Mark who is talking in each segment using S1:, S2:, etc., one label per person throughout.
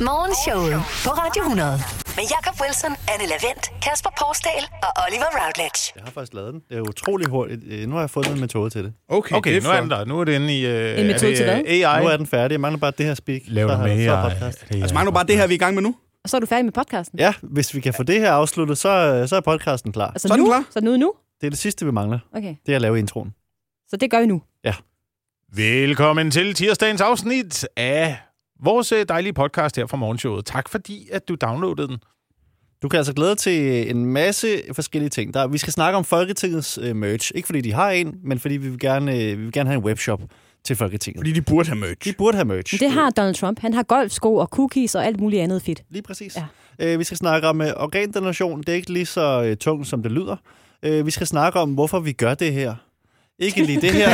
S1: Morgenshowet på Radio 100. Med Jakob Wilson, Anne Lavendt, Kasper Porsdal og Oliver Routledge.
S2: Jeg har faktisk lavet den. Det er utrolig hurtigt. Øh, Nu har jeg fundet en metode til det.
S3: Okay,
S4: Okay,
S3: det
S4: nu er den
S3: flot.
S4: der. Nu er det inde i... Øh,
S5: En metode
S4: er det,
S5: til hvad?
S4: øh, AI.
S2: Nu er den færdig. Jeg mangler bare det her speak.
S4: Lav
S2: Så
S4: den
S2: har-
S4: med
S2: så er
S4: AI.
S2: podcast.
S4: Det er-
S3: Altså, mangler du bare det her, vi er i gang med nu?
S5: Og så er du færdig med podcasten.
S2: Ja, hvis vi kan få det her afsluttet, så, øh, så er podcasten klar.
S5: Altså
S3: Så er den
S5: nu?
S3: klar.
S5: Så er den ude nu?
S2: Det er det sidste, vi mangler.
S5: Okay.
S2: Det er at lave introen.
S5: Så det gør vi nu.
S4: Velkommen til tirsdagens afsnit af vores øh, dejlige podcast her fra Morgenshowet. Tak fordi, at du downloadede den.
S2: Du kan altså glæde dig til en masse forskellige ting. Der, vi skal snakke om Folketingets øh, merch. Ikke fordi de har en, men fordi vi vil gerne, øh, vi vil gerne have en webshop til Folketinget.
S3: Fordi de burde have merch.
S2: de burde have merch.
S5: Men det har Donald Trump. Han har golfsko og cookies og alt muligt andet fedt.
S2: Lige præcis.
S5: Ja.
S2: Øh, vi skal snakke om øh, organdonation. Det er ikke lige så øh, tungt, som det lyder. Øh, vi skal snakke om, hvorfor vi gør det her. Ikke lige det her,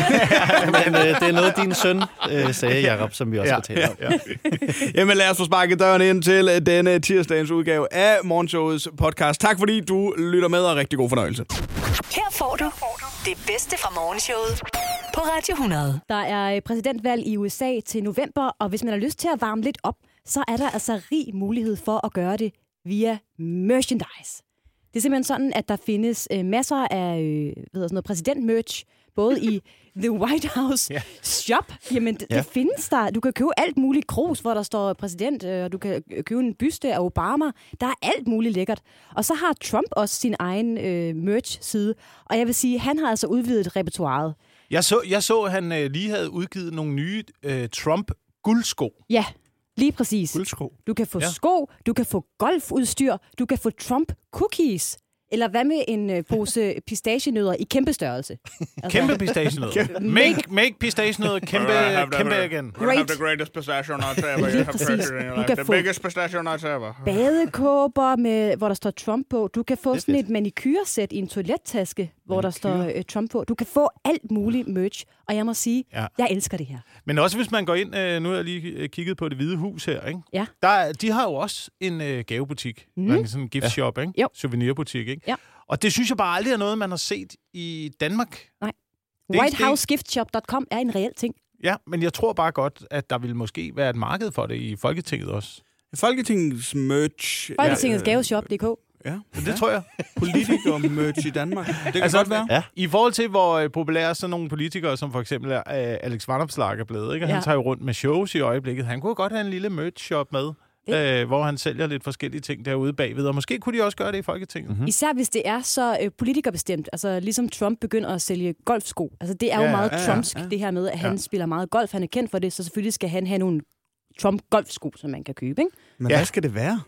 S2: men øh, det er noget, din søn øh, sagde, Jacob, som vi også
S4: Altså,
S2: ja, skal tale om. Ja, ja.
S3: Jamen lad os få sparket døren ind til øh, denne tirsdagens udgave af Morgenshowets podcast. Tak fordi du lytter med, og rigtig god fornøjelse.
S1: Her får du det bedste fra Morgenshowet på Radio 100.
S5: Der er øh, præsidentvalg i USA til november, og hvis man har lyst til at varme lidt op, så er der altså rig mulighed for at gøre det via merchandise. Det er simpelthen sådan, at der findes øh, masser af øh, hvad hedder sådan noget, præsidentmerch, både i The White House
S4: Ja.
S5: yeah. shop. Jamen, det,
S2: Ja.
S5: det findes der. Du kan købe alt muligt krus, hvor der står præsident, øh, og du kan købe en byste af Obama. Der er alt muligt lækkert. Og så har Trump også sin egen øh, merch-side, og jeg vil sige, han har altså udvidet repertoireet.
S4: Jeg så, jeg så at han øh, lige havde udgivet nogle nye øh, Trump-guldsko.
S5: Ja, lige præcis.
S2: Guldsko.
S5: Du kan få
S4: Ja.
S5: ja. sko, du kan få golfudstyr, du kan få Trump cookies. Eller hvad med en øh, pose pistachienødder i kæmpe størrelse? Altså,
S4: Kæmpe pistagenød. Make, make pistagenød kæmpe, kæmpe igen.
S5: Great
S6: greatest pistachio nuts ever.
S5: Lige præcis. Du kan få
S6: pistachio nuts ever.
S5: badekåber, med, hvor der står Trump på. Du kan få
S2: er
S5: sådan
S2: fedt.
S5: et manikyrsæt i en toilettaske, hvor der står øh, Trump på. Du kan få alt muligt merch. Og jeg må sige,
S4: Ja.
S5: ja. jeg elsker det her.
S4: Men også hvis man går ind, øh, nu har jeg lige øh, kigget på det hvide hus her, ikke?
S5: Ja.
S4: Der, er- de har jo også en øh, gavebutik, mm. en sådan en gift shop, ikke?
S5: Mhm. Jo.
S4: souvenirbutik. Ikke?
S5: Ja.
S4: Og det synes jeg bare aldrig er noget, man har set i Danmark. er ikke- det er
S5: WhiteHouseGiftShop.com er en reel ting.
S4: Ja, men jeg tror bare godt, at der vil måske være et marked for det i Folketinget også.
S3: Folketingets merch.
S4: øh,
S5: Folketingets gaveshop.dk.
S3: Ja.
S4: Men det tror jeg.
S3: Politiker merch i Danmark. Det kan altså,
S4: Altså,
S3: godt være.
S2: ja.
S4: I forhold til, hvor øh, populære sådan nogle politikere, som for eksempel er, øh, Alex Vandopslag er blevet, ikke? Og ja. han
S5: Ja.
S4: tager jo rundt med shows i øjeblikket. Han kunne godt have en lille merch-shop med, øh, hvor han sælger lidt forskellige ting derude bagved. Og måske kunne de også gøre det i Folketinget.
S3: Mhm.
S4: Mm-hmm.
S5: Især hvis det er så øh, politikerbestemt, altså ligesom Trump begynder at sælge golfsko. Altså det er jo
S4: Ja,
S5: ja, meget
S4: ja, ja,
S5: trumpsk, ja, det her med, at han spiller meget golf. Han er kendt for det, så selvfølgelig skal han have nogle Trump-golfsko, som man kan købe, ikke?
S3: Men
S4: Ja.
S3: hvad skal det være?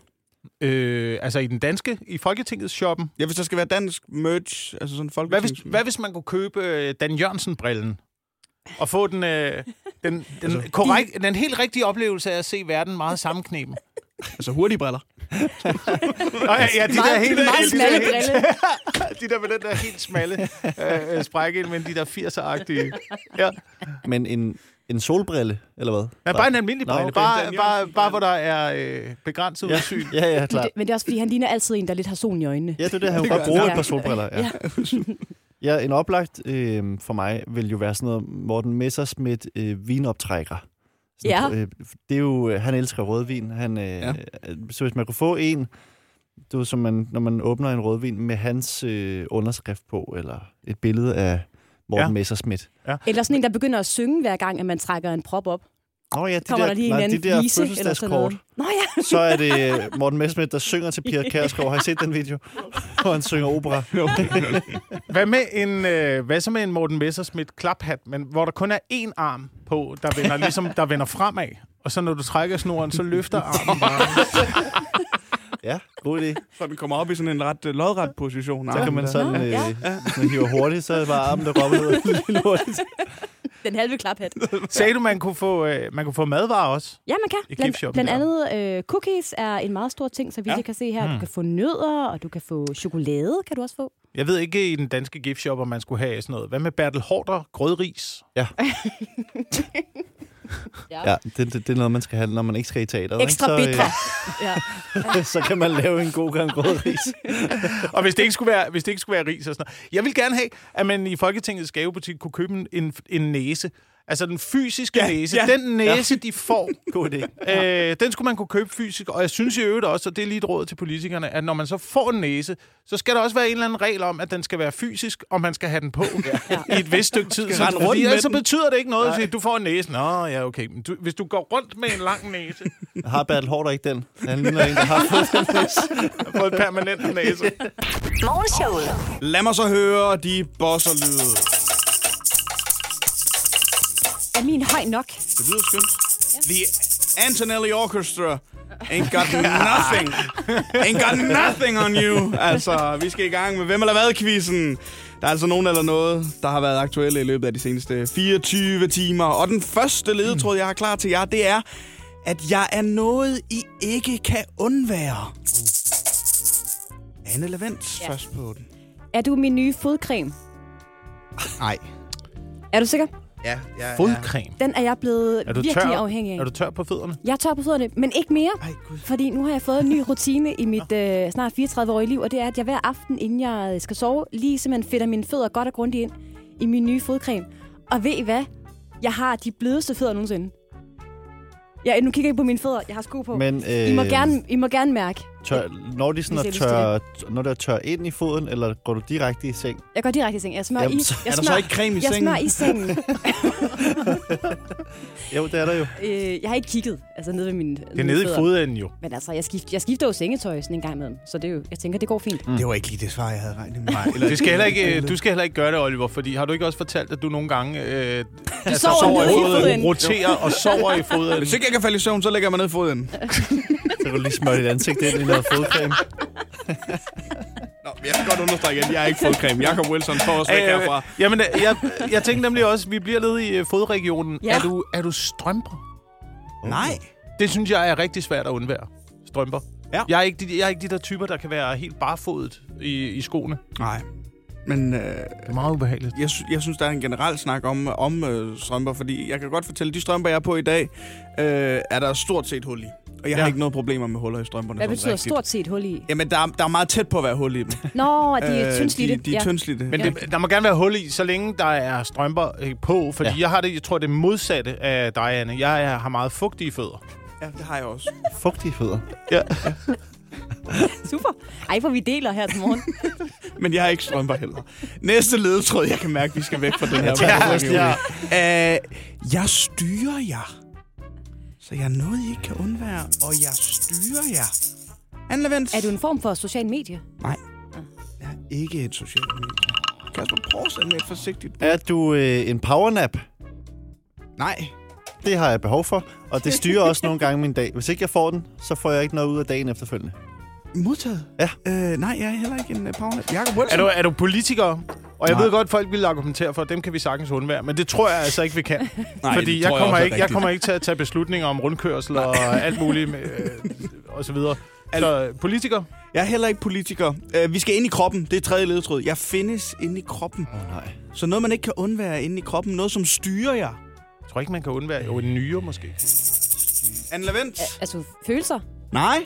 S4: Øh, altså i den danske, i Folketingets shoppen.
S3: Ja, hvis der skal være dansk merch, altså sådan
S4: Hvad hvis,
S3: folketings...
S4: hvad hvis man kunne købe øh, Dan Jørgensen-brillen? Og få den, øh, den, den, korrekt, den helt rigtige oplevelse af at se verden meget sammenknepen.
S3: Altså hurtige briller.
S4: Og, ja, ja, de der helt,
S5: meget
S4: de der
S5: smalle
S4: helt,
S5: brille.
S4: de der med den der helt smalle øh, øh, sprække, men de der 80'er-agtige. Ja.
S2: Men en, en solbrille, eller hvad?
S4: ja, bare en almindelig
S2: Nå,
S4: brille.
S2: okay.
S4: Bare, bare, bare hvor der er øh, begrænset ja. udsyn.
S2: Ja, ja, klart.
S5: Men det er også, fordi han ligner altid en, der lidt har solen i øjnene.
S2: Ja, det er det. Han
S3: Det
S2: kunne
S3: gør
S2: godt bruge
S5: han.
S2: et par solbriller. Ja. ja, en oplagt øh, for mig vil jo være sådan noget Morten Messersmith øh, vinoptrækker.
S5: Ja.
S2: øh, det er jo, øh, han elsker rødvin. Han, øh,
S3: Ja.
S2: ja. Så hvis man kunne få en, det var som man, når man åbner en rødvin med hans øh, underskrift på, eller et billede af Morten
S4: Ja.
S2: ja. Messersmith.
S5: Eller sådan en, der begynder at synge hver gang, at man trækker en prop op.
S2: Nå ja, de
S5: Kommer
S2: der,
S5: der lige en
S2: nej,
S5: anden
S2: de der
S5: vise eller sådan noget.
S2: fødselsdagskort.
S5: Nå ja,
S2: Så er det øh, Morten Messersmith, der synger til Pia Kærsgaard. Har I set den video? Hvor han synger opera.
S4: Hvad med en, øh, hvad så med en Morten Messerschmidt klaphat, men hvor der kun er én arm på, der vender, ligesom, der vender fremad? Og så når du trækker snoren, så løfter armen bare.
S2: Ja, god idé.
S3: Så den kommer op i sådan en ret øh, lodret position. Ah.
S2: Så kan man sådan, øh,
S5: ja.
S2: hvis man hiver hurtigt, så er det bare armen, der råber ud. Lige hurtigt.
S5: den halve klaphat.
S4: Sagde du, man kunne få, øh, man kunne få madvarer også?
S5: Ja, man
S4: I
S5: kan. Blandt,
S4: gift-shoppen
S5: blandt
S4: der.
S5: andet øh, cookies er en meget stor ting, så vi ja. kan se her. Du kan få nødder, og du kan få chokolade, kan du også få.
S4: Jeg ved ikke i den danske giftshop, om man skulle have sådan noget. Hvad med Bertel Hårder grødris?
S2: Ja, det, det, det, er noget, man skal have, når man ikke skal i teateret.
S5: Ekstra
S2: ikke? øh,
S5: bitre. Ja.
S2: Så, øh, så kan man lave en god gang rød ris.
S4: Og hvis det ikke skulle være, hvis det ikke skulle være ris og sådan noget. Jeg vil gerne have, at man i Folketingets gavebutik kunne købe en, en, en næse. Altså den fysiske
S3: Ja,
S4: ja, næse.
S3: ja,
S4: Ja, den næse, ja. de får,
S2: God idé.
S4: øh, den skulle man kunne købe fysisk. Og jeg synes i øvrigt også, og det er lige et råd til politikerne, at når man så får en næse, så skal der også være en eller anden regel om, at den skal være fysisk, og man skal have den på ja. i et vist stykke tid.
S3: rende rundt
S4: fordi
S3: med
S4: ellers så
S3: den.
S4: betyder det ikke noget, at du får en næse. Nå, ja, okay. Men du, hvis du går rundt med en lang næse,
S2: Har Bertel Hårder ikke den? Han ligner en, der har fået den.
S4: og får en permanent næse.
S1: Morgenshowet.
S3: Lad mig så høre de bosserlyde.
S5: Er min høj nok?
S3: Det lyder skønt. The Antonelli Orchestra ain't got nothing. ain't got nothing on you. Altså, vi skal i gang med Hvem eller hvad-quizzen. Der er altså nogen eller noget, der har været aktuelle i løbet af de seneste 24 timer. Og den første ledetråd, jeg har klar til jer, det er, at jeg er noget, I ikke kan undvære. Anne Levent
S5: Ja.
S3: ja. først på den.
S5: Er du min nye fodcreme?
S3: Nej.
S5: Er du sikker?
S3: Ja, ja,
S4: Fodcreme.
S5: Den er jeg blevet
S4: Er du
S5: virkelig
S4: tør?
S5: afhængig af.
S4: Er du tør på fødderne?
S5: Jeg er tør på fødderne, men ikke mere.
S3: Ej, Gud.
S5: Fordi nu har jeg fået en ny rutine i mit øh, snart 34-årige liv, og det er, at jeg hver aften, inden jeg øh, skal sove, lige simpelthen fedter mine fødder godt og grundigt ind i min nye fodcreme. Og ved I hvad? Jeg har de blødeste fødder nogensinde. Ja, nu kigger I på mine fødder. Jeg har sko på.
S2: Men, øh,
S5: I, må gerne, I må gerne mærke.
S2: Tør, når de sådan
S5: Hvis
S2: er
S5: jeg lyst til
S2: tør, når der tør ind i foden, eller går du direkte i seng?
S5: Jeg går direkte i seng. Jeg smører
S2: Jamen,
S5: i.
S2: så
S5: Jeg
S3: Er der
S5: smører-
S3: så ikke creme i
S5: jeg
S3: sengen?
S5: smører i sengen.
S2: Jo, det er der jo.
S5: øh, jeg har ikke kigget altså, nede ved mine
S4: Det er nede i fodenden jo.
S5: Men altså, jeg, skift, jeg skifter jo sengetøj sådan en gang imellem, så det er jo, jeg tænker, det går fint.
S3: Det var ikke lige det svar, jeg havde regnet med.
S4: Eller, det skal heller ikke, øh, du skal heller ikke gøre det, Oliver, fordi har du ikke også fortalt, at du nogle gange øh, altså,
S5: sover nede i fodenden.
S4: roterer og sover i fodenden?
S3: Hvis ikke jeg kan falde i søvn, så lægger jeg mig ned i foden.
S2: Så kan du lige smøre dit ansigt ind i noget fodcreme.
S3: Nå, jeg skal godt understrege igen, jeg har ikke fået creme. Jakob Wilson, får os væk herfra.
S4: Øh, jamen, øh, jeg, jeg tænkte nemlig også, vi bliver nede i øh, fodregionen.
S5: Ja.
S4: Er, du, er du strømper?
S3: Nej.
S4: Det synes jeg er rigtig svært at undvære. Strømper.
S3: Ja.
S4: Jeg, er ikke de, jeg er ikke de der typer, der kan være helt barefodet i, i skoene.
S3: Nej. Men øh,
S4: Det er meget ubehageligt.
S3: jeg, sy- jeg synes, der er en generel snak om, om øh, strømper, fordi jeg kan godt fortælle, de strømper, jeg er på i dag, øh, er der stort set hul i. Og jeg ja. har
S4: Ja.
S3: ikke noget problemer med huller i strømperne.
S5: Hvad
S3: sådan
S5: betyder
S3: rigtigt.
S5: stort set hul i?
S3: Jamen, der er, der er meget tæt på at være hul i dem.
S5: Nå, de er
S3: Øh,
S5: tyndslidte.
S3: De, de er ja. tyndslidte.
S4: Men det, der må gerne være hul i, så længe der er strømper øh, på. Fordi ja.
S2: Ja.
S4: jeg har det, jeg tror, det er modsatte af dig, Anne. Jeg er, har meget fugtige fødder.
S3: Ja, det har jeg også.
S2: Fugtige fødder.
S5: Ja. Super. Ej, hvor vi deler her til morgen.
S3: Men jeg har ikke strømper heller. Næste ledetråd, jeg kan mærke, vi skal væk fra den her.
S2: ja.
S3: Øh, jeg styrer jer. Så jeg er noget, I ikke kan undvære, og jeg styrer jer. Anne Levent.
S5: er du en form for social medie?
S3: Nej. Jeg er ikke et socialt medie. Kasper, prøv at sende mig et forsigtigt bud.
S2: Er du øh, en powernap?
S3: Nej.
S2: Det har jeg behov for, og det styrer også nogle gange min dag. Hvis ikke jeg får den, så får jeg ikke noget ud af dagen efterfølgende.
S3: Modtaget?
S2: Ja.
S3: Øh, nej, jeg er heller ikke en uh, Paula. Jakob Wilson.
S4: Er du, er du politiker? Og jeg
S3: Nej.
S4: Nej. ved godt, folk vil argumentere for, at dem kan vi sagtens undvære, men det tror jeg altså ikke, vi kan.
S3: Nej, det
S4: fordi jeg
S3: tror jeg
S4: kommer,
S3: også er
S4: ikke, jeg
S3: rigtigt.
S4: kommer ikke til at tage beslutninger om rundkørsel og alt muligt med, øh, og så videre. Så øh, politiker?
S3: Jeg er heller ikke politiker. Øh, vi skal ind i kroppen. Det er tredje ledetråd. Jeg findes inde i kroppen.
S2: Åh oh, nej.
S3: Så noget, man ikke kan undvære er inde i kroppen. Noget, som styrer jer.
S4: Jeg tror ikke, man kan undvære. Jo, en nyere måske.
S3: Anne Levent.
S5: Altså, følelser?
S3: Nej.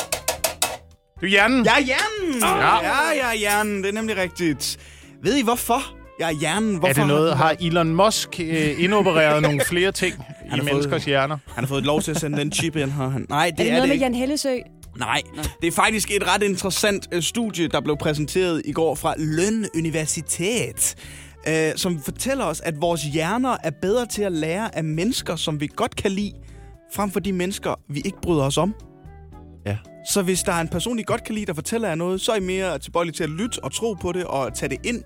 S4: Du, hjernen?
S3: Jeg er hjernen. Ja. ja, jeg er hjernen. Det er nemlig rigtigt. Ved I hvorfor? Jeg er hjernen. Hvorfor
S4: Er det noget,
S3: har...
S4: har Elon Musk øh, indopereret nogle flere ting
S3: har
S4: i
S3: fået-
S4: menneskers hjerner?
S3: Han har fået lov til at sende den chip ind her. Han- Nej, det
S5: Er det, er noget
S3: det
S5: med
S3: ikke.
S5: Jan Hellesø?
S3: Nej, det er faktisk et ret interessant øh, studie, der blev præsenteret i går fra Løn Universitet, øh, som fortæller os, at vores hjerner er bedre til at lære af mennesker, som vi godt kan lide, frem for de mennesker, vi ikke bryder os om.
S2: Ja.
S3: Så hvis der er en person, I godt kan lide, der fortæller jer noget, så er I mere tilbøjelige til at lytte og tro på det og tage det ind,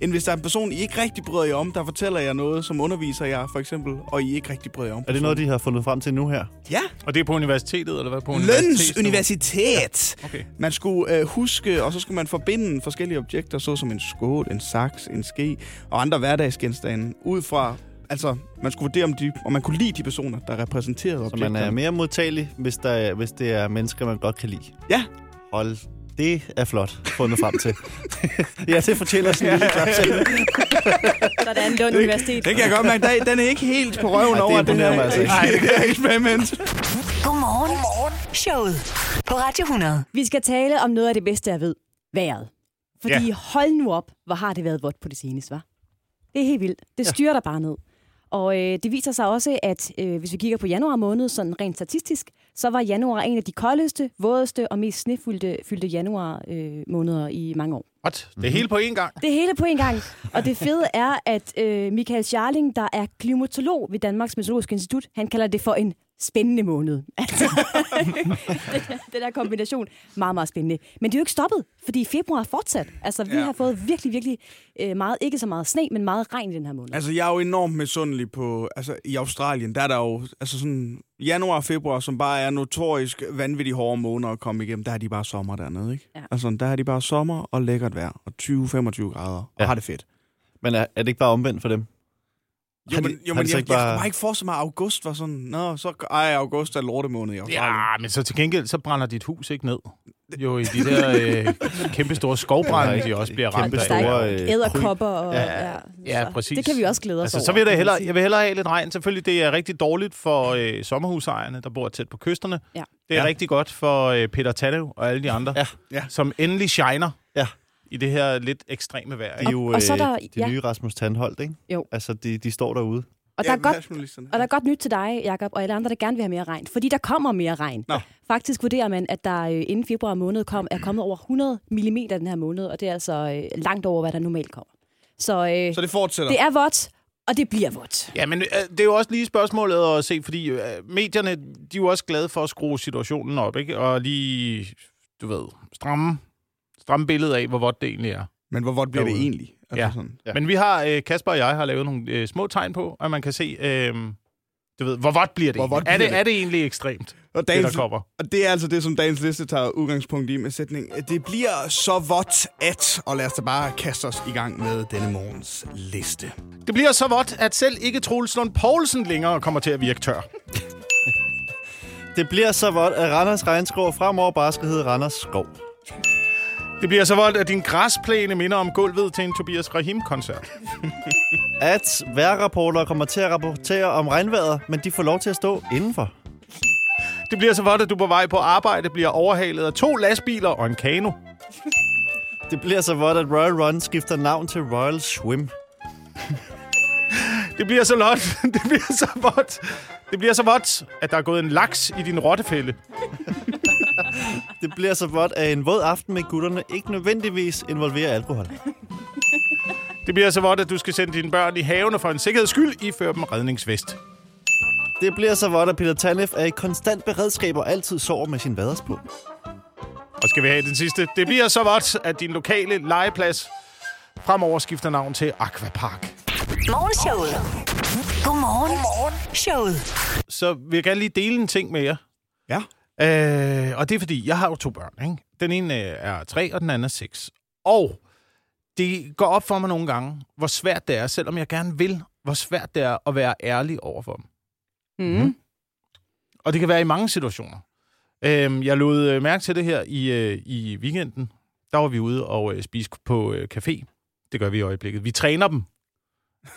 S3: end hvis der er en person, I ikke rigtig bryder jer om, der fortæller jer noget, som underviser jer for eksempel, og I ikke rigtig bryder jer om.
S2: Er det noget, de har fundet frem til nu her?
S3: Ja,
S4: Og det er på universitetet, eller hvad? På
S3: Løns
S4: universitets-
S3: Universitet.
S4: Okay.
S3: Man skulle øh, huske, og så skulle man forbinde forskellige objekter, såsom en skål, en saks, en ske og andre hverdagsgenstande, ud fra, altså, man skulle vurdere, om, de, om man kunne lide de personer, der repræsenterede
S2: Så
S3: objekterne.
S2: man er mere modtagelig, hvis, der er, hvis det er mennesker, man godt kan lide.
S3: Ja.
S2: Hold, det er flot fundet frem til. ja, det fortæller sådan en lille klapsalve.
S5: Sådan, Lund Universitet.
S3: Det kan jeg godt mærke. Der, den er ikke helt på røven
S2: Ej, det
S3: over det
S2: imponerer
S3: her
S2: mig altså ikke. Altså,
S3: Nej, det er eksperiment.
S1: Godmorgen. Godmorgen. Showet på Radio 100.
S5: Vi skal tale om noget af det bedste, jeg ved. Været. Fordi hold nu op, hvor har det været vådt på det seneste, var? Det er helt vildt. Det styrer dig bare ned. Og øh, det viser sig også, at øh, hvis vi kigger på januar måned, sådan rent statistisk, så var januar en af de koldeste, vådeste og mest snefyldte fyldte januar øh, måneder i mange år.
S4: What? Det er hele på én gang.
S5: Det hele på en gang. Og det fede er, at øh, Michael Scharling, der er klimatolog ved Danmarks Meteorologiske Institut, han kalder det for en spændende måned. Altså, den- den der kombination, meget, meget spændende. Men det er jo ikke stoppet, fordi februar er fortsat. Altså, vi
S3: Ja.
S5: ja. har fået virkelig, virkelig øh, meget, ikke så meget sne, men meget regn i den her måned.
S3: Altså, jeg er jo enormt misundelig på... Altså, i Australien, der er der jo... Altså, sådan januar og februar, som bare er notorisk vanvittigt hårde måneder at komme igennem, der har de bare sommer dernede, ikke?
S5: Ja.
S3: Altså, der har de bare sommer og lækkert vejr, og 20-25 grader, og
S2: Ja.
S3: har det fedt.
S2: Men er, er det ikke bare omvendt for dem?
S3: Jo,
S2: Har
S3: men,
S2: de-
S3: jo,
S2: har
S3: men
S2: de
S3: jeg,
S2: så
S3: jeg,
S2: ikke bare-
S3: bare... jeg ikke for så meget, at august var sådan... Nå, så... Ej, august er lortemåned i Australien.
S4: Ja, men så til gengæld, så brænder dit hus ikke ned. Jo, i de der øh, kæmpe store skovbrænde, de også bliver ramt
S2: Kæmpe
S4: af.
S5: Der
S2: store...
S5: er
S2: øh,
S5: æderkopper og... Ja, ja.
S4: Ja,
S5: så
S4: præcis.
S5: Det kan vi også glæde os
S4: altså,
S5: over.
S4: Så vil jeg, da
S5: kan man
S4: hellere,
S5: sige.
S4: jeg vil hellere have lidt regn. Selvfølgelig, det er rigtig dårligt for øh, sommerhusejerne, der bor tæt på kysterne.
S5: Ja.
S4: Det er
S2: Ja.
S4: rigtig godt for øh, Peter Tannev og alle de andre,
S2: Ja.
S3: Ja.
S4: som endelig shiner
S2: Ja.
S4: i det her lidt ekstreme vejr.
S2: De er
S4: ikke?
S2: jo
S5: Og- og så er
S2: øh,
S5: der-
S2: de
S5: ja.
S2: nye Rasmus Tandholt, ikke?
S5: Jo.
S2: Altså, de, de står derude.
S5: Og der er godt
S3: godt...
S5: Og der er godt nyt til dig, Jakob, og alle andre, der gerne vil have mere regn. Fordi der kommer mere regn.
S3: Nå.
S5: Faktisk vurderer man, at der øh, inden februar måned kom, er kommet over 100 mm den her måned, og det er altså øh, langt over, hvad der normalt kommer. Så, øh,
S3: Så
S5: så
S3: det fortsætter.
S5: det er vådt, og det bliver vådt.
S4: Ja, men øh, det er jo også lige spørgsmålet at se, fordi øh, medierne, de er jo også glade for at skrue situationen op, ikke? Og lige, du ved, stramme, stramme billedet af, hvor vådt det egentlig er.
S3: Men hvor vådt bliver det
S4: Derude.
S3: egentlig? Altså
S4: Ja.
S3: sådan.
S4: Ja. Men vi har, øh, Kasper og jeg har lavet nogle øh, små tegn på, at man kan se, øh, du ved, hvor vådt bliver det,
S3: Hvor
S4: hvor
S3: vådt
S4: er,
S3: bliver
S4: det,
S3: det?
S4: er det egentlig ekstremt,
S3: Og
S4: det
S3: dagens,
S4: der kommer?
S3: Og det er altså det, som dagens liste tager udgangspunkt i med sætning. Det bliver så vådt at, og lad os da bare kaste os i gang med denne morgens liste.
S4: Det bliver så vådt, at selv ikke Troels Lund Poulsen længere kommer til at virke tør.
S2: Det bliver så vådt, at Randers Regnskov fremover bare skal hedde Randers Skov.
S4: Det bliver så vådt, at din græsplæne minder om gulvet til en Tobias Rahim-koncert.
S2: At vejrrapporter kommer til at rapportere om regnvejret, men de får lov til at stå indenfor.
S4: Det bliver så vådt, at du på vej på arbejde bliver overhalet af to lastbiler og en kano.
S2: Det bliver så vådt, at Royal Run skifter navn til Royal Swim.
S4: Det bliver så lot. Det bliver så vådt. Det bliver så vådt, at der er gået en laks i din rottefælde.
S2: Det bliver så vådt, at en våd aften med gutterne ikke nødvendigvis involverer alkohol.
S4: Det bliver så vådt, at du skal sende dine børn i havene for en sikkerheds skyld, ifør dem redningsvest.
S2: Det bliver så vådt, at Peter Tanef er i konstant beredskab og altid sover med sin vaders på.
S4: Og skal vi have den sidste? Det bliver så vådt, at din lokale legeplads fremover skifter navn til Aquapark.
S1: Morgenshowet. Godmorgen. Godmorgen. Showet.
S4: Så vil jeg gerne lige dele en ting med jer.
S3: Ja.
S4: Øh, og det er fordi, jeg har jo to børn. Ikke? Den ene øh, er tre, og den anden er seks. Og det går op for mig nogle gange, hvor svært det er, selvom jeg gerne vil, hvor svært det er at være ærlig over for dem.
S5: Mm.
S4: Og det kan være i mange situationer. Øhm, jeg lod øh, mærke til det her i, øh, i weekenden. Der var vi ude og øh, spise på øh, café. Det gør vi i øjeblikket. Vi træner dem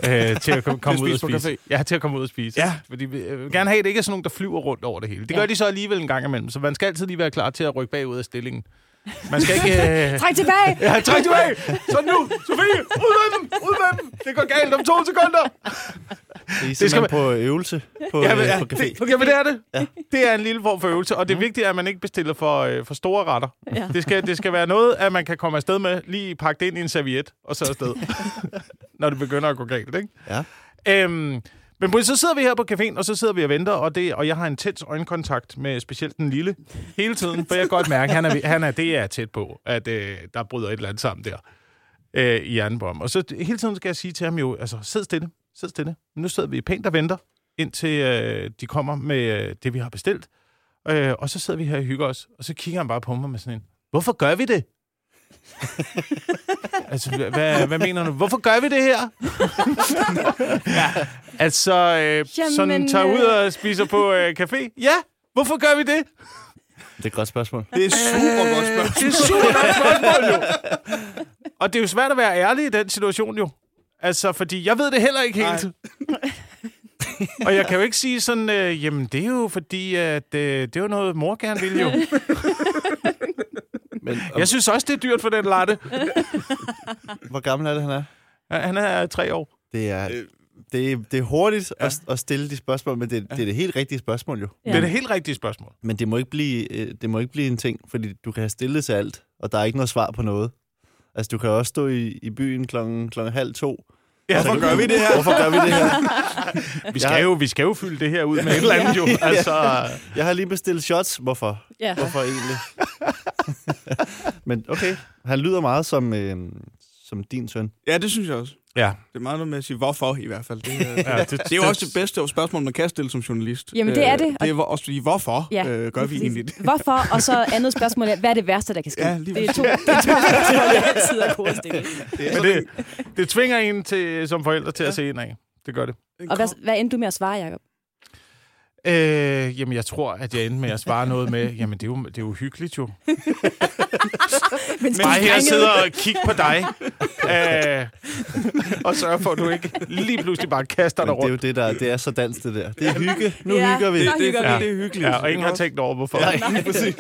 S4: øh, til at kom- komme ud
S3: spise
S4: og
S3: på
S4: spise. Ja, til at komme ud og spise.
S3: Ja.
S4: Fordi vi øh, vil gerne have, at det ikke er sådan nogen, der flyver rundt over det hele. Det gør
S5: Ja.
S4: de så alligevel en gang imellem, så man skal altid lige være klar til at rykke bagud af stillingen. Man skal ikke... Øh,
S5: Træk tilbage!
S4: Ja, træk dig af! Så nu, Sofie, ud med dem! Ud med dem! Det går galt om to sekunder!
S2: Det er
S4: skal
S2: simpelthen
S4: man-
S2: man... på øvelse på,
S4: Ja, men,
S2: øh,
S4: ja,
S2: på café. Mm.
S4: det, jamen, det er det. Ja. Det er en lille form for øvelse, og det vigtige er, at man ikke bestiller for, øh, for store retter. Ja.
S5: Ja.
S4: Det, skal, det skal være noget, at man kan komme afsted med, lige pakke det ind i en serviet, og så afsted, når det begynder at gå galt. Ikke?
S2: Ja.
S4: Øhm, men Britt, så sidder vi her på caféen, og så sidder vi og venter, og, det, og jeg har en tæt øjenkontakt med specielt den lille hele tiden, for jeg kan godt mærke, at han er, ved- han er det, jeg er tæt på, at øh, der bryder et eller andet sammen der øh, i hjernen på ham. Og så hele tiden skal jeg sige til ham jo, altså sid stille, sid stille. Men nu sidder vi pænt og venter, indtil øh, de kommer med øh, det, vi har bestilt. Øh, og så sidder vi her og hygger os, og så kigger han bare på mig med sådan en, hvorfor gør vi det? altså, hva- hvad, hvad mener du? Hvorfor gør vi det her? ja. Altså, øh, sådan
S5: Jamen,
S4: tager ud
S5: øh.
S4: og spiser på øh, café. Ja, hvorfor gør vi det?
S2: Det er et godt spørgsmål.
S3: Det er super godt spørgsmål.
S4: Det er super godt spørgsmål, jo. Og det er jo svært at være ærlig i den situation, jo. Altså, fordi jeg ved det heller ikke helt. Og jeg kan jo ikke sige sådan, øh, jamen det er jo fordi, at øh, det er jo noget, mor gerne vil jo.
S2: Men og,
S4: Jeg synes også, det er dyrt for den latte.
S2: hvor gammel er det, han er?
S4: Ja, Han er tre år.
S2: Det er Det, det er hurtigt ja. at, at stille de spørgsmål, men det, det er det helt rigtige spørgsmål jo.
S4: Ja. Det er det helt rigtige spørgsmål.
S2: Men det må, ikke blive, øh, det må ikke blive en ting, fordi du kan have stillet til alt, og der er ikke noget svar på noget. Altså, du kan også stå i, i byen klokken, klokken halv to.
S4: Ja,
S2: Hvorfor
S3: gør vi det her?
S2: Hvorfor gør vi det her?
S4: Altså, vi, skal jo, vi skal jo fylde det her ud med et eller andet jo. Altså,
S2: Jeg har lige bestilt shots. Hvorfor?
S5: Ja.
S2: Hvorfor egentlig? men okay, han lyder meget som, øh, som din søn.
S3: Ja, det synes jeg også.
S4: ja.
S3: Det er meget noget med at sige, hvorfor i hvert fald. Det, øh,
S4: ja
S3: det er jo også det bedste spørgsmål, man kan stille som journalist.
S5: Jamen, det er det.
S3: Øh, Det er hvor- også fordi, hvorfor
S5: Ja,
S3: ja, øh, gør vi
S5: præcis.
S3: egentlig det?
S5: Hvorfor? Og så andet spørgsmål er, hvad er det værste, der kan ske?
S3: Ja, lige
S5: det er to, det er to spørgsmål, jeg altid er gode at stille.
S4: Men det, det tvinger en til, som forældre til ja. at se en af. Det gør det.
S5: Og hvad, hvad endte du med at svare, Jacob?
S4: Øh, jamen, jeg tror, at jeg endte med at svare noget med, jamen, det er jo, det er jo hyggeligt jo.
S5: Mens
S4: Men
S5: du
S4: jeg her
S5: drengede-
S4: sidder og kigger på dig, øh, og sørger for, at du ikke lige pludselig bare kaster dig
S2: Men det er jo
S4: rundt.
S2: det, der det er så dansk, det der. Det er hygge. Nu
S5: Ja.
S2: hygger vi.
S5: Det- det- hygger vi.
S3: det er hyggeligt.
S4: Ja, og ingen har tænkt over, hvorfor.
S2: Nej, præcis.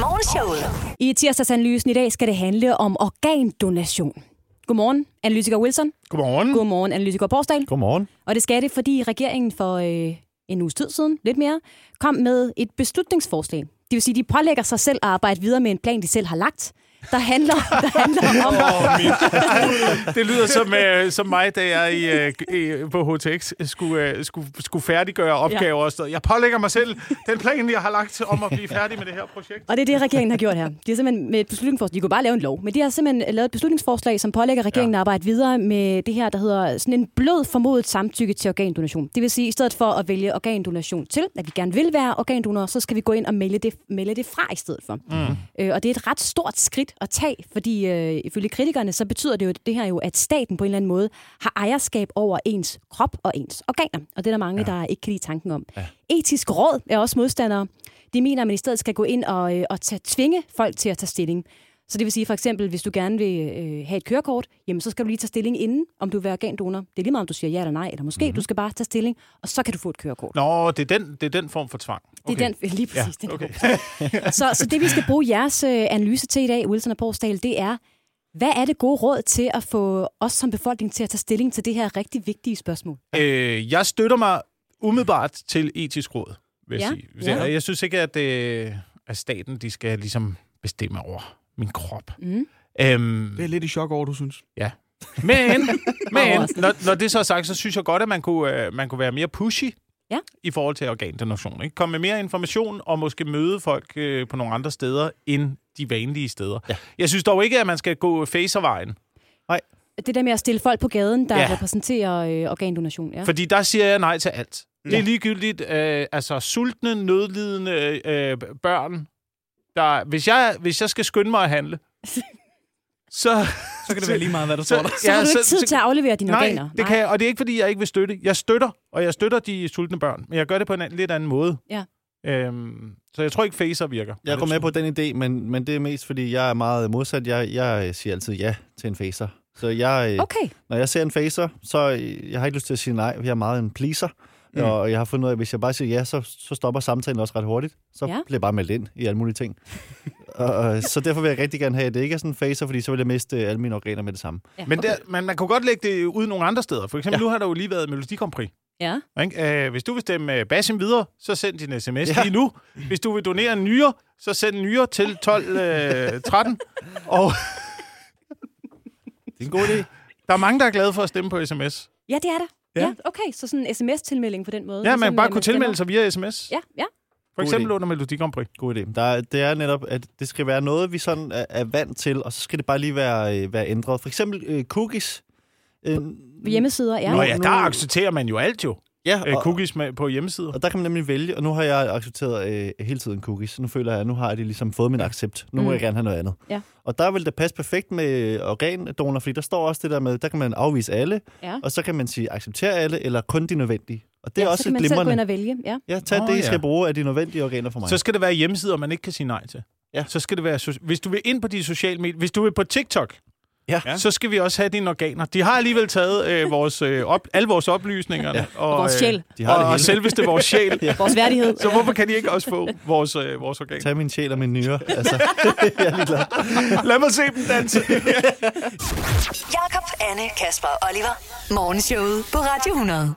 S1: Morgenshowet.
S5: I tirsdagsanalysen i dag skal det handle om organdonation. Godmorgen, analytiker Wilson.
S4: Godmorgen.
S5: Godmorgen, analytiker Borsdal.
S2: Godmorgen.
S5: Og det skal det, fordi regeringen for øh, en uges tid siden, lidt mere, kom med et beslutningsforslag. Det vil sige, de pålægger sig selv at arbejde videre med en plan, de selv har lagt, der handler, der handler om...
S4: Det lyder som, øh, som mig, da jeg i, øh, i, på HTX skulle, øh, skulle, skulle færdiggøre opgaver ja. og sådan noget. Jeg pålægger mig selv den plan, jeg har lagt om at blive færdig med det her projekt.
S5: Og det er det, regeringen har gjort her. De har simpelthen med et beslutningsforslag, de kunne bare lave en lov, men de har simpelthen øh, lavet et beslutningsforslag, som pålægger regeringen ja. at arbejde videre med det her, der hedder sådan en blød formodet samtykke til organdonation. Det vil sige, at i stedet for at vælge organdonation til, at vi gerne vil være organdonorer, så skal vi gå ind og melde det, melde det fra i stedet for. Mm. Øh, og det er et ret stort skridt at tage, fordi øh, ifølge kritikerne, så betyder det jo det her jo, at staten på en eller anden måde har ejerskab over ens krop og ens organer. Og det er der mange, ja. der ikke kan lide tanken om. Ja. Etisk råd er også modstandere. De mener, at man i stedet skal gå ind og, øh, og tage, tvinge folk til at tage stilling. Så det vil sige for eksempel, hvis du gerne vil øh, have et kørekort, jamen så skal du lige tage stilling inden, om du vil være organdonor. Det er lige meget, om du siger ja eller nej, eller måske mm-hmm. du skal bare tage stilling, og så kan du få et kørekort.
S4: Nå, det er den, det er den form for tvang.
S5: Det er den, lige præcis, ja, den
S4: okay.
S5: så, så det, vi skal bruge jeres øh, analyse til i dag, Wilson og Borsdal, det er, hvad er det gode råd til at få os som befolkning til at tage stilling til det her rigtig vigtige spørgsmål?
S4: Øh, jeg støtter mig umiddelbart til etisk råd, vil jeg
S5: Ja,
S4: sige.
S5: ja.
S4: Jeg, jeg synes ikke, at, øh, at staten de skal ligesom bestemme over min krop.
S5: Mm.
S4: Øhm,
S3: Det er lidt i chok over, du synes.
S4: Men, men
S5: Overraskende.
S4: når, når det så er sagt, så synes jeg godt, at man kunne, øh, man kunne være mere pushy
S5: Ja.
S4: i forhold til organdonation. Ikke? Komme med mere information og måske møde folk øh, på nogle andre steder end de vanlige steder. Ja. Jeg synes dog ikke, at man skal gå facervejen.
S5: Det der med at stille folk på gaden, der
S4: Ja.
S5: ja. repræsenterer øh, organdonation. Ja.
S4: Fordi der siger jeg nej til alt. Det er ligegyldigt. Øh, altså sultne, nødlidende øh, børn. Der, hvis, jeg, hvis jeg skal skynde mig at handle, så...
S3: Så kan det være lige meget, hvad der
S4: Så,
S5: så har du ikke tid til at aflevere dine
S4: Nej,
S5: organer.
S4: det kan jeg, og det er ikke, fordi jeg ikke vil støtte. Jeg støtter, og jeg støtter de sultne børn, men jeg gør det på en anden, lidt anden måde.
S5: Ja.
S4: Øhm, så jeg tror ikke, facer virker.
S2: Jeg går med på den idé, men, men det er mest, fordi jeg er meget modsat. Jeg, jeg øh, siger altid ja til en facer. Så jeg, okay.
S5: Okay,
S2: når jeg ser en facer, så øh, jeg har ikke lyst til at sige nej. Jeg er meget en pleaser. Mm. Og jeg har fundet ud af, at hvis jeg bare siger ja, så, så stopper samtalen også ret hurtigt. Så
S5: Ja.
S2: ja. bliver jeg bare meldt ind i alle mulige ting. og, og, så derfor vil jeg rigtig gerne have, at det ikke er sådan en facer, fordi så vil jeg miste øh, alle mine organer med det samme.
S5: ja.
S4: Men
S5: okay.
S4: der, man, man kunne godt lægge det ud nogle andre steder. For eksempel, ja. nu har der jo lige været Melodi Grand Prix.
S5: Ja.
S4: Ikke? Øh, hvis du vil stemme øh, Basim videre, så send din sms ja. lige nu. Hvis du vil donere en nyere, så send en nyere til 12, øh, 13. Og
S2: Det er en god idé.
S4: der er mange, der er glade for at stemme på sms.
S5: ja, det er der.
S4: Ja.
S5: Ja. ja, okay, så sådan en sms-tilmelding på den måde.
S4: Ja,
S5: ligesom,
S4: man bare
S5: øh,
S4: kunne
S5: stemmer.
S4: tilmelde sig via sms. Ja.
S5: Ja, ja.
S4: For
S2: God
S4: eksempel
S2: idé.
S4: under Melodi Grand Prix.
S2: God idé. Der, er- det er netop, at det skal være noget, vi sådan er, er vant til, og så skal det bare lige være, øh, være ændret. For eksempel øh, cookies. Øh,
S5: På hjemmesider, ja.
S4: Nå ja, der accepterer man jo alt jo.
S2: ja,
S4: Øh,
S2: og,
S4: cookies med, på hjemmesider.
S2: og der kan man nemlig vælge, og nu har jeg accepteret øh, hele tiden cookies. Nu føler jeg, at nu har jeg det ligesom fået min accept. Nu må
S5: Mm.
S2: jeg gerne have noget andet.
S5: Ja.
S2: Og der vil det passe perfekt med øh, organdonor, fordi der står også det der med, der kan man afvise alle,
S5: Ja.
S2: og så kan man sige, acceptere alle, eller kun de nødvendige. Og det er
S5: ja, så
S2: også
S5: kan
S2: et
S5: man selv gå ind
S2: glimrende.
S5: og vælge. Ja.
S2: Ja, tag
S4: Nå,
S2: oh, det, I
S4: ja.
S2: skal bruge af de nødvendige organer for mig.
S4: Så skal det være hjemmesider, man ikke kan sige nej til.
S2: Ja.
S4: Så skal det være, so- hvis du vil ind på de sociale medier, hvis du vil på TikTok,
S2: Ja.
S4: ja. så skal vi også have dine organer. De har alligevel taget øh, vores, øh, op, alle vores oplysninger. Ja. Og,
S5: Vores sjæl.
S2: De
S4: Øh,
S2: har det
S4: og, og
S2: hele.
S4: selveste vores sjæl. ja.
S5: Vores værdighed.
S4: Så hvorfor kan de ikke også få vores, øh, vores organer?
S2: Tag min sjæl og min nyre. Altså,
S4: Lad mig se dem danse.
S1: Jakob, Anne, Kasper og Oliver. Morgenshowet på Radio 100.